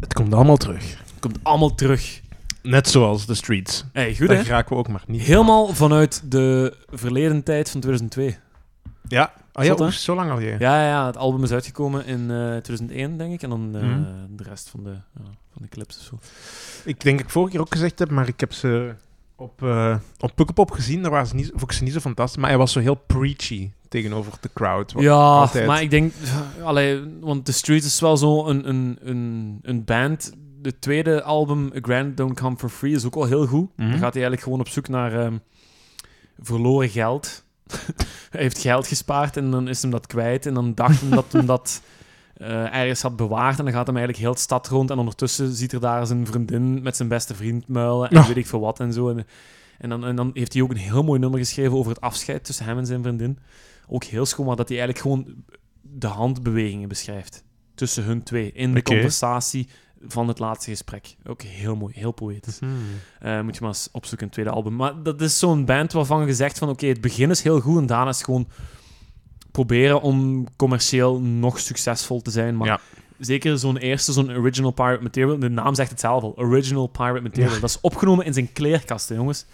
Het komt allemaal terug. Komt allemaal terug. Net zoals The Streets. Hey, goed hè? Daar raken we ook maar niet. Helemaal vanuit de verleden tijd van 2002. Ja. Ah ja, Zot, hè? oef, zo lang al je. Ja, ja, ja, het album is uitgekomen in eh, 2001, denk ik. En dan eh, Mhm. de rest van de, ja, van de clips of zo. Ik denk dat ik vorige keer ook gezegd heb, maar ik heb ze op, eh op Pukkelpop gezien. Daar waren ze niet, vond ik ze niet zo fantastisch. Maar hij was zo heel preachy tegenover de crowd. Wat- Ja, altijd. maar ik denk... Allee, want The Streets is wel zo een, een, een, een band. De tweede album, A Grand Don't Come For Free, is ook wel heel goed. Mhm. Dan gaat hij eigenlijk gewoon op zoek naar ehm, verloren geld. hij heeft geld gespaard en dan is hem dat kwijt. En dan dacht hij dat hem dat eh, ergens had bewaard. En dan gaat hem eigenlijk heel de stad rond. En ondertussen ziet er daar zijn vriendin met zijn beste vriend muilen. En Ja. weet ik veel wat en zo. En, en, dan, en dan heeft hij ook een heel mooi nummer geschreven over het afscheid tussen hem en zijn vriendin. Ook heel schoon, maar dat hij eigenlijk gewoon de handbewegingen beschrijft. Tussen hun twee. In de Oké. conversatie van het laatste gesprek. Ook heel mooi, heel poëtisch. Hmm. Eh, moet je maar eens opzoeken, een tweede album. Maar dat is zo'n band waarvan gezegd van... Oké, het begin is heel goed en daarna is het gewoon... Proberen om commercieel nog succesvol te zijn. Maar Ja. zeker zo'n eerste, zo'n Original Pirate Material... De naam zegt het zelf al. Original Pirate Material. Ja. Dat is opgenomen in zijn kleerkast, hè, jongens.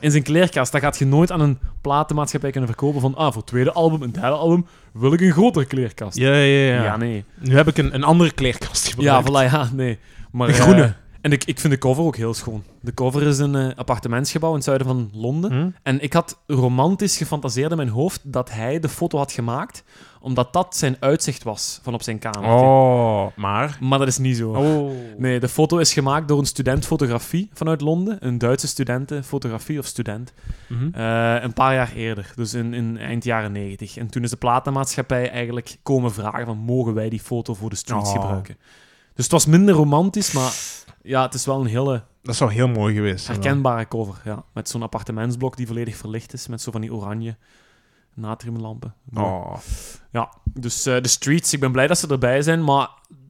In zijn kleerkast. Dat gaat je nooit aan een platenmaatschappij kunnen verkopen van... Ah, voor het tweede album en derde album wil ik een grotere kleerkast. Ja, ja, ja. ja nee. Nu heb ik een, een andere kleerkast Ja, gebruikt. voilà, ja, nee. Maar, De eh, groene. en ik, ik vind de cover ook heel schoon. De cover is een eh, appartementsgebouw in het zuiden van Londen. Hm? En ik had romantisch gefantaseerd in mijn hoofd dat hij de foto had gemaakt, omdat dat zijn uitzicht was van op zijn kamer. Oh, maar... Maar dat is niet zo. Oh. Nee, de foto is gemaakt door een student fotografie vanuit Londen. Een Duitse studenten fotografie of student. Mhm. Eh, een paar jaar eerder, dus in, in eind jaren negentig. En toen is de platenmaatschappij eigenlijk komen vragen van mogen wij die foto voor de streets Oh. gebruiken. Dus het was minder romantisch, maar ja, het is wel een hele Dat zou heel mooi geweest zijn. herkenbare cover. Ja. Met zo'n appartementsblok die volledig verlicht is, met zo van die oranje natriumlampen. Mooi. Oh. Dus eh, de streets, ik ben blij dat ze erbij zijn, maar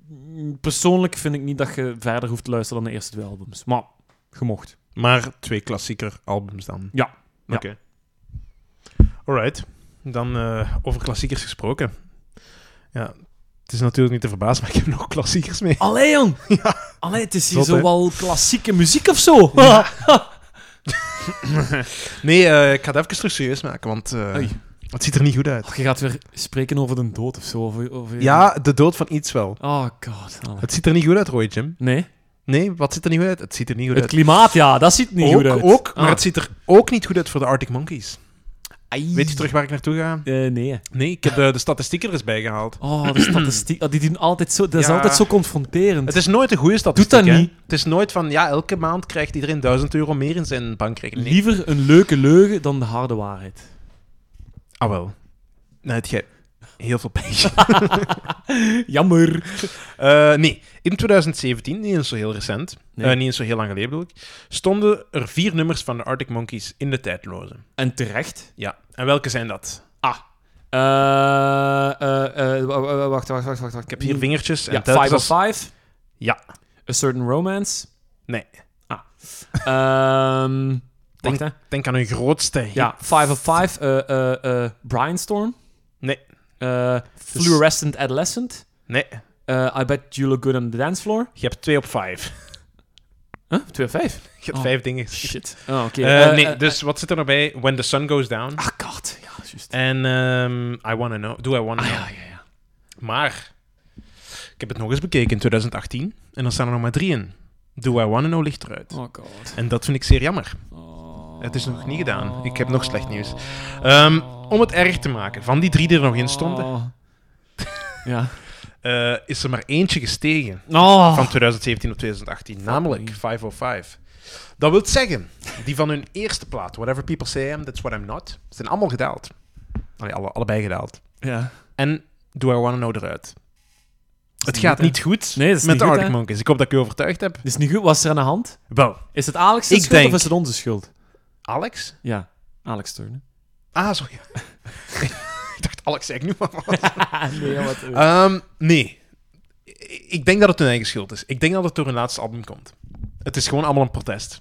mm, persoonlijk vind ik niet dat je verder hoeft te luisteren dan de eerste twee albums. Maar, gemocht. Maar twee klassieker albums dan. Ja. Ja. Oké. Alright. Dan eh, over klassiekers gesproken. Ja, het is natuurlijk niet te verbazen, maar ik heb nog klassiekers mee. Allee, jong! Allee, het is hier Zot, zo hè? wel klassieke muziek of zo. Nee, eh, ik ga het even terug serieus maken, want eh, Oei. het ziet er niet goed uit. Och, je gaat weer spreken over de dood of zo. Over, over- Ja, de dood van iets wel. Oh god. Allee. Het ziet er niet goed uit, Roy Jim. Nee, Nee, wat ziet er niet goed uit? Het ziet er niet goed het uit. klimaat, ja, dat ziet niet ook, goed uit. ook, maar Ah. het ziet er ook niet goed uit voor de Arctic Monkeys. Ai. Weet je terug waar ik naartoe ga? Eh, nee. Nee, ik heb de, de statistieken er eens bij gehaald. Oh, de statistiek. Oh, die doen altijd zo, dat is Ja. altijd zo confronterend. Het is nooit een goede statistiek. dat hè. niet. Het is nooit van, ja, elke maand krijgt iedereen 1000 euro meer in zijn bankrekening. Nee. Liever een leuke leugen dan de harde waarheid. Ah, wel. Nou, het jij heel veel pijn. Jammer. Eh, nee, in 2017, niet eens zo heel recent, Nee. eh, niet eens zo heel lang geleden bedoel ik, stonden er vier nummers van de Arctic Monkeys in de tijdloze. En terecht. Ah. Ja. En welke zijn dat? Eh, eh, eh, wa- wa- wacht, wacht, wacht, wacht, wacht. Ik heb hier vingertjes. Mm. En Hm. Ja, telkens Five of als- Five. Ja. A Certain Romance. Nee. Ah. Ehm, Denk- wacht, hè. Denk aan hun grootste hit. Ja, Five of Five. eh eh eh Brainstorm. Nee. Eh, Fluorescent Adolescent. Nee, Eh, I Bet You Look Good on the Dance Floor. je hebt twee op vijf. Huh? Twee of vijf? Je hebt Oh, vijf dingen. Shit. Oh, oké. Eh, Eh, nee, eh, dus wat zit er nog bij? When the Sun Goes Down. Ah, god. Ja, juist. En ehm, I Wanna Know. Do I Wanna Ah, Know. ja, ja, ja. Maar ik heb het nog eens bekeken in 2018 en dan staan er nog maar drie in. Do I Wanna Know ligt eruit. Oh, god. En dat vind ik zeer jammer. Oh. Het is nog niet gedaan. Ik heb nog slecht nieuws. Ehm, om het erg te maken, van die drie die er nog in stonden, Oh. Ja. eh, is er maar eentje gestegen Oh. van 2017 op 2018, namelijk me. 505. Dat wil zeggen, die van hun eerste plaat, Whatever People Say I'm, That's What I'm Not, zijn allemaal gedaald. Allee, alle, allebei gedaald. Ja. En Do I Wanna Know eruit. Het niet gaat goed, niet goed Nee, dat is met de niet goed, Arctic hè? Monkeys. Ik hoop dat ik u overtuigd heb. Het is niet goed. Wat is er aan de hand? Wel, Is het Alex' zijn Ik schuld denk- of is het onze schuld? Alex? Ja, Alex Turner. Ah, sorry. ik dacht, Alex zei ik nu maar wat. Ah, nee, wat... Ehm, nee. I- Ik denk dat het hun eigen schuld is. Ik denk dat het door hun laatste album komt. Het is gewoon allemaal een protest.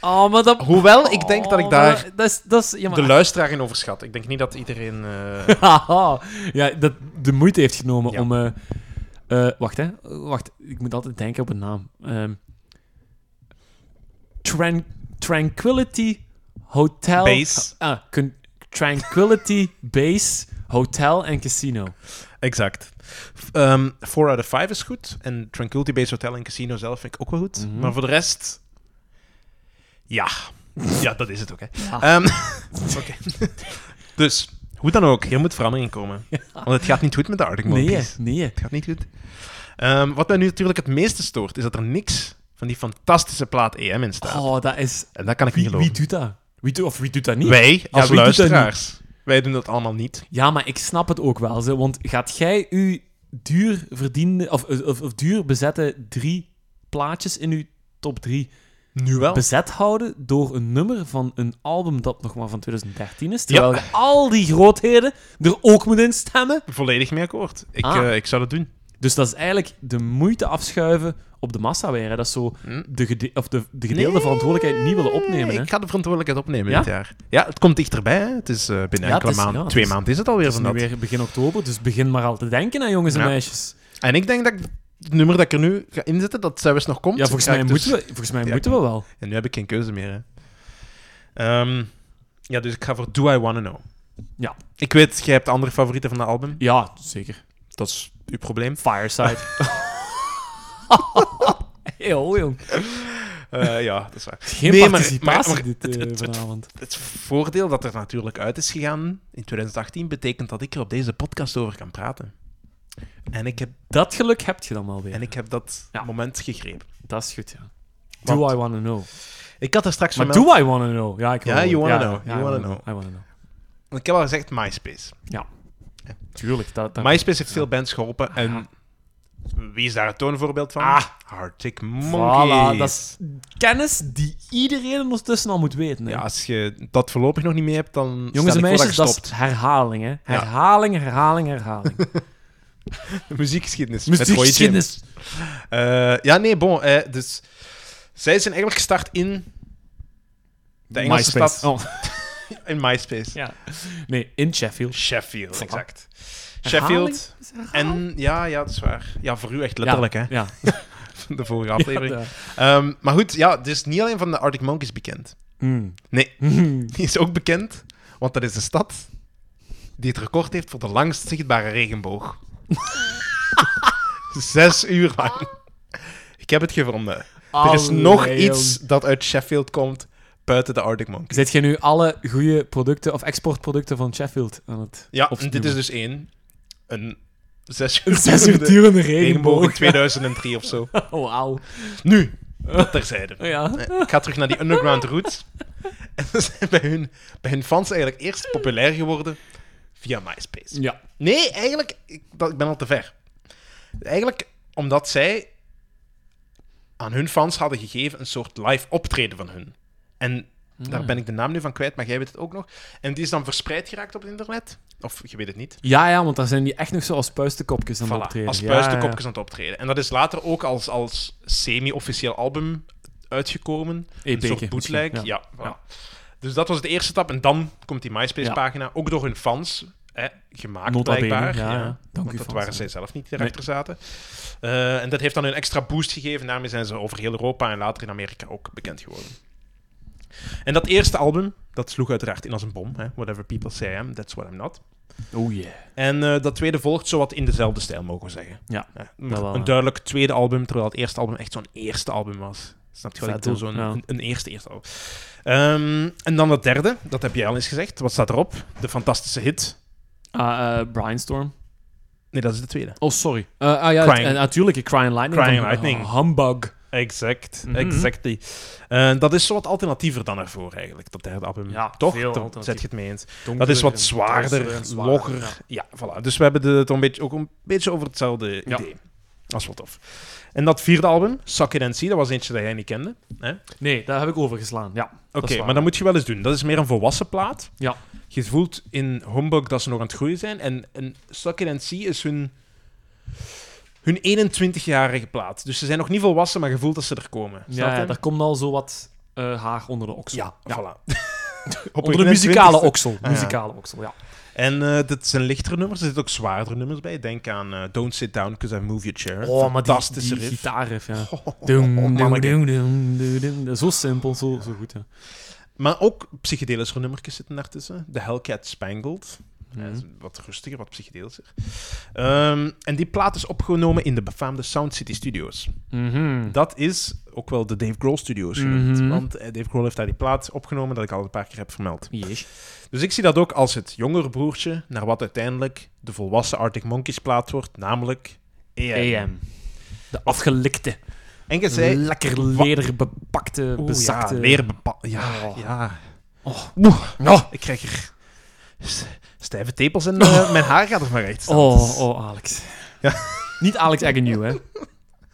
oh, maar dat... Hoewel, ik denk dat ik Oh, daar maar Dat is... Dat is de ja, maar... luisteraar in overschat. Ik denk niet dat iedereen... eh, Haha. ja, dat de moeite heeft genomen Ja. om eh, Eh, wacht, hè. Wacht, ik moet altijd denken op een naam. Ehm, Tran- Tranquility Hotel... Base. Ah, con- Tranquility Base Hotel en Casino. Exact. Ehm 4 out of 5 is goed. En Tranquility Base Hotel en Casino zelf vind ik ook wel goed. Mhm. Maar voor de rest... Ja. Ja, dat is het ook, hè. Ja. Ehm, Oké. dus, hoe dan ook, hier moet verandering komen. Want het gaat niet goed met de Arctic Monkeys. Nee, nee. Het gaat niet goed. Ehm, wat mij nu natuurlijk het meeste stoort, is dat er niks van die fantastische plaat EM in staat. Oh, dat is... En dat kan ik niet Wie, wie geloven. doet dat? Wie doet, of wie doet dat niet? Wij, als wie doet dat luisteraars, wij doen dat allemaal niet. Ja, maar ik snap het ook wel. Ze, want gaat jij uw duur verdiende of, of, of duur bezette drie plaatjes in uw top drie Nu wel. bezet houden door een nummer van een album dat nog maar van 2013 is, terwijl je al die grootheden er ook moet in stemmen? Volledig mee akkoord. Ik, Ah. eh, ik zou dat doen. Dus dat is eigenlijk de moeite afschuiven op de massa weer. hè. Dat is zo Hm? de, gede- of de, de gedeelde verantwoordelijkheid niet willen opnemen. Hè? Ik ga de verantwoordelijkheid opnemen Ja? dit jaar. Ja, het komt dichterbij. Hè. Het is eh, binnen Ja, enkele het is- maanden. ja, Twee het is- maanden is het alweer Het is van nu dat. weer begin oktober, dus begin maar al te denken aan jongens en Ja. meisjes. En ik denk dat ik het nummer dat ik er nu ga inzetten, dat zelfs nog komt. Ja, volgens Ga ik mij, dus- moeten, we, volgens mij Ja. moeten we wel. En nu heb ik geen keuze meer. Hè. Ehm, ja, dus ik ga voor Do I Wanna Know. Ja. Ik weet, jij hebt andere favorieten van dat album. Ja, zeker. Dat is uw probleem. Fireside. Heel jong. Eh, ja, dat is waar. Geen Nee, maar- participatie maar- maar- dit, eh, het- het- het- vanavond. Het voordeel dat er natuurlijk uit is gegaan in 2018 betekent dat ik er op deze podcast over kan praten. En ik heb, Dat geluk heb je dan wel weer. en ik heb dat Ja. moment gegrepen. Dat is goed, ja. Do Want- I wanna know? Ik had er straks Maar vermeld- do I wanna know? Ja, ik Ja, hoor het. you wanna know, you I wanna know, I wanna know. Want Ik heb al gezegd MySpace. Tuurlijk. Dat, dat... MySpace heeft veel bands geholpen. Ja. En wie is daar het toonvoorbeeld van? Ah. Arctic Voilà, Monkeys. dat is kennis die iedereen ondertussen al moet weten. Hè. Ja, als je dat voorlopig nog niet mee hebt, dan Jongens en stel ik voor meisjes, dat dat je is herhaling, hè. Herhaling, herhaling, herhaling. stopt. Muziekgeschiedenis. met Roy Muziekgeschiedenis. James. Eh, ja, nee, bon. eh, dus zij zijn eigenlijk gestart in de Engelse MySpace. stad. Oh, In MySpace. ja. Nee, in Sheffield. Sheffield, Voilà. exact. Herhaling? Sheffield. En ja, ja, dat is waar. Ja, voor u echt letterlijk, hè? Ja. De vorige ja, aflevering. ja. Ehm, maar goed, ja, het is niet alleen van de Arctic Monkeys bekend. Mm. Nee, Mm. die is ook bekend, want dat is de stad die het record heeft voor de langst zichtbare regenboog. Zes uur lang. Ik heb het gevonden. er is Allee, nog jong. iets dat uit Sheffield komt buiten de Arctic Monkeys. Zet je nu alle goede producten of exportproducten van Sheffield aan het Ja, en opsturen? dit is dus één. Een zes Een uur zes uur durende durende regenboog in regenboog. 2003 of zo. Oh, wauw. Nu, dat terzijde. Ja. Nee, Eh, Ik ga terug naar die underground roots. En ze zijn bij hun, bij hun fans eigenlijk eerst populair geworden via MySpace. ja. Nee, eigenlijk, ik, dat, ik ben al te ver. Eigenlijk omdat zij aan hun fans hadden gegeven een soort live optreden van hun. En daar ben ik de naam nu van kwijt, maar jij weet het ook nog. En die is dan verspreid geraakt op het internet. Of je weet het niet. Ja, ja, want daar zijn die echt nog zo als puistenkopjes aan het Voilà, optreden. als Ja, puistenkopjes aan het optreden. En dat is later ook als, als semi-officieel album uitgekomen. ja. Een soort EP'tje bootleg. Ja. E misschien, voilà. Ja. Dus dat was de eerste stap. En dan komt die MySpace-pagina, ook door hun fans, hè, gemaakt Nota bene, blijkbaar. ja, ja. Dank u, Want dat fans, waren ja. zij zelf niet, die erachter zaten. Eh, en dat heeft dan een extra boost gegeven. Daarmee zijn ze over heel Europa en later in Amerika ook bekend geworden. En dat eerste album, dat sloeg uiteraard in als een bom. Hè? Whatever people say I am, that's what I'm not. Oh yeah. En eh, dat tweede volgt zowat in dezelfde stijl, mogen we zeggen. Ja, maar wel, een ja. duidelijk tweede album, terwijl het eerste album echt zo'n eerste album was. Snap je wat ik Vet, bedoel? hè? Zo'n Ja. een, een eerste eerste album. Ehm, en dan dat derde, dat heb jij al eens gezegd. Wat staat erop? De fantastische hit. Ah, eh, Brainstorm. Nee, dat is de tweede. Oh, sorry. Eh, ah ja, Crying- en natuurlijk, eh, Crying Lightning. Crying van- Lightly. oh, humbug. Exact, Mhm. exactly. Eh, dat is wat alternatiever dan ervoor eigenlijk, dat derde album. Ja, Toch? veel Daar alternatief. Zet je het mee eens. Dat is wat zwaarder, logger. Ja. voilà. Dus we hebben de- het een beetje, ook een beetje over hetzelfde Ja. idee. Dat is wel tof. En dat vierde album, Suck It and See, dat was eentje dat jij niet kende. hè? Nee, daar heb ik overgeslaan. Ja. Oké, Dat is waar. maar dat moet je wel eens doen. Dat is meer een volwassen plaat. Ja. Je voelt in Homburg dat ze nog aan het groeien zijn. En, en Suck It and See is hun, hun 21-jarige plaat. Dus ze zijn nog niet volwassen, maar je voelt dat ze er komen. Snap Ja, je? daar komt al zo wat eh, haar onder de oksel. ja, voilà. Onder de 29e. muzikale oksel. Ah, ja. Muzikale oksel, ja. En eh, dit zijn lichtere nummers, er zitten ook zwaardere nummers bij. Denk aan eh, Don't Sit Down, Because I Move Your Chair. Oh, maar die, Fantastische die riff. gitaarriff, ja. Oh, Dung, dung, manneke. dung, dung, dung, dung. Dat is Zo simpel, zo, zo goed, ja. Maar ook psychedelische nummertjes zitten daartussen. De Hellcat Spangled. Mhm. Eh, Wat rustiger, wat psychedelischer. Ehm, en die plaat is opgenomen in de befaamde Sound City Studios. Mhm. Dat is ook wel de Dave Grohl Studios genoemd. Mhm. Want eh, Dave Grohl heeft daar die plaat opgenomen dat ik al een paar keer heb vermeld. Yes. Dus ik zie dat ook als het jongere broertje naar wat uiteindelijk de volwassen Arctic Monkeys plaat wordt, namelijk EM. AM. De afgelikte, En je zei... lekker Wa- leder bepakte, Oeh, bezakte... ja, weer bepaald. Ja, Oh. ja. Oh. Oeh, Oh, ik krijg er s- stijve tepels en eh, mijn haar gaat er maar recht staan. oh, oh, Alex. Niet Alex Agnew, hè.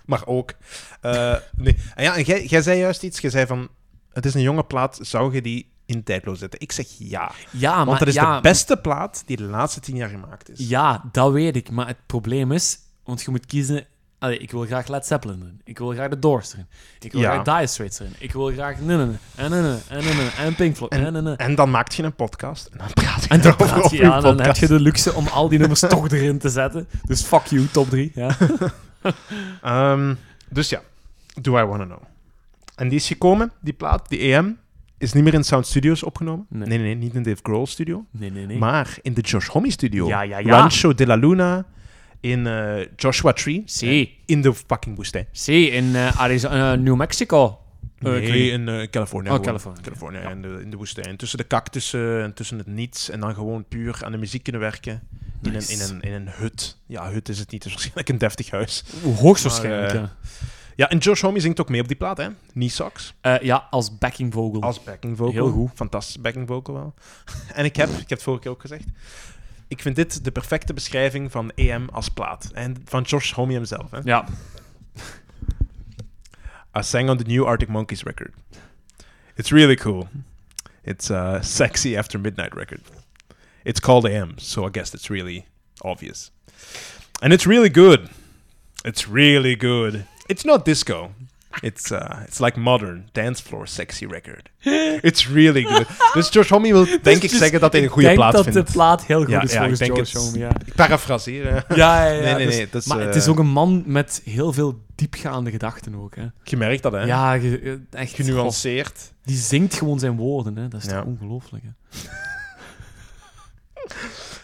Maar ook... eh, nee. En ja, en jij, jij zei juist iets. Jij zei van, het is een jonge plaat, zou je die in tijdloos zetten? Ik zeg ja. Ja, Ah, maar Want dat is ja, de beste plaat die de laatste tien jaar gemaakt is. Ja, dat weet ik. Maar het probleem is, want je moet kiezen... Allee, ik wil graag Led Zeppelin erin. Ik wil graag de Doors erin. Ik wil Ja. graag Dire Straits erin. Ik wil graag... Nee, nee, nee. En, nee, nee. En, nee, nee. en Pink Floyd. En, nee, nee. En dan maakt je een podcast en dan praat je En dan, erover praat op je, je ja, dan heb podcast. je de luxe om al die nummers toch erin te zetten. Dus fuck you, top 3. Ja. Ehm, dus ja, Do I Wanna Know. En die is gekomen, die plaat, die EM, is niet meer in Sound Studios opgenomen. Nee. Nee, nee, nee, niet in Dave Grohl Studio. Nee, nee, nee. Maar in de Josh Homme Studio. Ja, ja, ja. Rancho de la Luna, in eh, Joshua Tree. Zie. Eh, In de fucking woestijn. See, in eh, Arizona, eh, New Mexico. Eh, ik weet nee, niet. in eh, Californië. Oh, gewoon. Californië. Californië, Ja. in, de, in de woestijn. Tussen de cactussen en tussen het niets. En dan gewoon puur aan de muziek kunnen werken. In, Nice. een, in, een, in een hut. Ja, hut is het niet. Het is waarschijnlijk een deftig huis. Hoogstwaarschijnlijk, Maar, eh, ja. Ja, en Josh Homme zingt ook mee op die plaat, hè? Knee Socks. Eh, ja, als backing vogel. Als backing vocal. Heel goed. Fantastische backing vocal wel. en ik heb, ik heb het vorige keer ook gezegd, ik vind dit de perfecte beschrijving van EM als plaat. En van Josh Homme hemzelf. Hè? Ja. I sang on the new Arctic Monkeys record. It's really cool. It's a sexy after midnight record. It's called AM, so I guess it's really obvious. And it's really good. It's really good. It's not disco. It's uh, it's like modern dance floor sexy record. It's really good. dus George Homme wil denk ik Dus zeggen dat hij een goede ik denk plaat dat vindt. de plaat heel goed Ja, is ja, volgens ik denk George het. Homme, ja. Ik parafraseer. hè. Ja, ja, ja. Nee, nee, dus- nee, dat is, maar eh, het is ook een man met heel veel diepgaande gedachten ook, hè. Je merkt dat, hè? Ja, ge- eh, echt. goh, Genuanceerd. die zingt gewoon zijn woorden, hè. Dat is Ja. toch ongelooflijk, hè.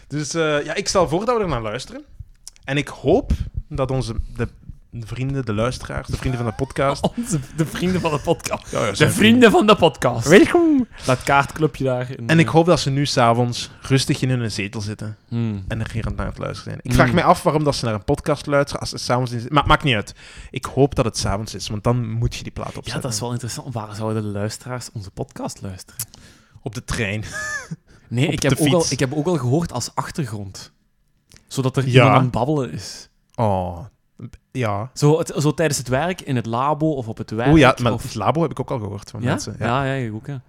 Dus eh, ja, ik stel voor dat we er naar luisteren. En ik hoop dat onze de, de vrienden, de luisteraars, de vrienden van de podcast. Onze, de vrienden van de podcast. Ja, ja, zijn Oh, De vrienden van de podcast. Weet ik hoe. Dat kaartclubje daar. in, En ik eh, hoop dat ze nu s'avonds rustig in hun zetel zitten hmm. en er hier aan het luisteren zijn. Ik Mm. vraag mij af waarom dat ze naar een podcast luisteren als ze s'avonds in Maar maakt niet uit. Ik hoop dat het s'avonds is, want dan moet je die plaat opzetten. Ja, dat is wel interessant. Waar zouden de luisteraars onze podcast luisteren? Op de trein. Nee, Op ik de heb, ook al, fiets. ik heb ook al gehoord als achtergrond. Zodat er Ja. iemand aan het babbelen is. Oh, ja. Zo, het, zo tijdens het werk, in het labo of op het werk. Oh ja, maar of- het labo heb ik ook al gehoord van ja? mensen. Ja, ja, ik ook. Ja. Ja,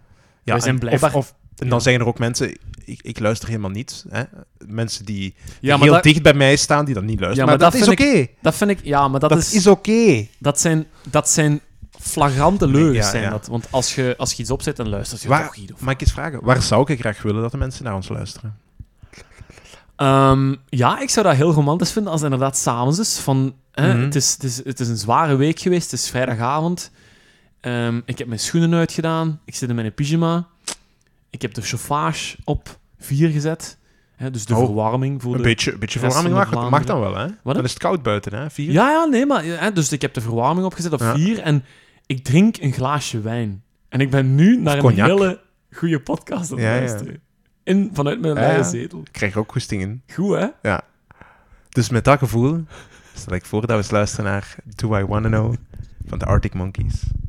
Wij zijn en- of- blijkbaar- Of, en dan Ja. zeggen er ook mensen, ik, ik luister helemaal niet. Hè? Mensen die, die Ja, maar heel dat, dicht bij mij staan, die dan niet luisteren. maar maar, dat, dat is oké. dat vind ik... Ja, maar dat, Dat is, is, oké. dat, zijn, dat zijn flagrante Nee, leugens. ja, zijn ja. dat. Want als je, als je iets opzet, dan luister je Waar- toch niet. Of... Mag ik eens vragen, waar zou ik graag willen dat de mensen naar ons luisteren? Ehm, ja, ik zou dat heel romantisch vinden als het inderdaad s'avonds is. Van, hè, Mhm. het, is, het, is, het is een zware week geweest, het is vrijdagavond. Ehm, ik heb mijn schoenen uitgedaan, ik zit in mijn pyjama. Ik heb de chauffage op 4 gezet. Hè, dus de Oh, verwarming voor Een de... beetje, een beetje rest verwarming van de mag, mag dan wel, hè? Wat? Dan is het koud buiten, hè? Vier? Ja, ja, nee, maar... Hè, dus ik heb de verwarming opgezet op Ja. 4 en ik drink een glaasje wijn. En ik ben nu naar een cognac. hele goede podcast aan het Ja, ja. luisteren. In, vanuit mijn Ja, leien ja. zetel. Ik krijg er ook goesting in. Goed, hè? Dus met dat gevoel stel ik voor dat we eens luisteren naar Do I Wanna Know van de Arctic Monkeys.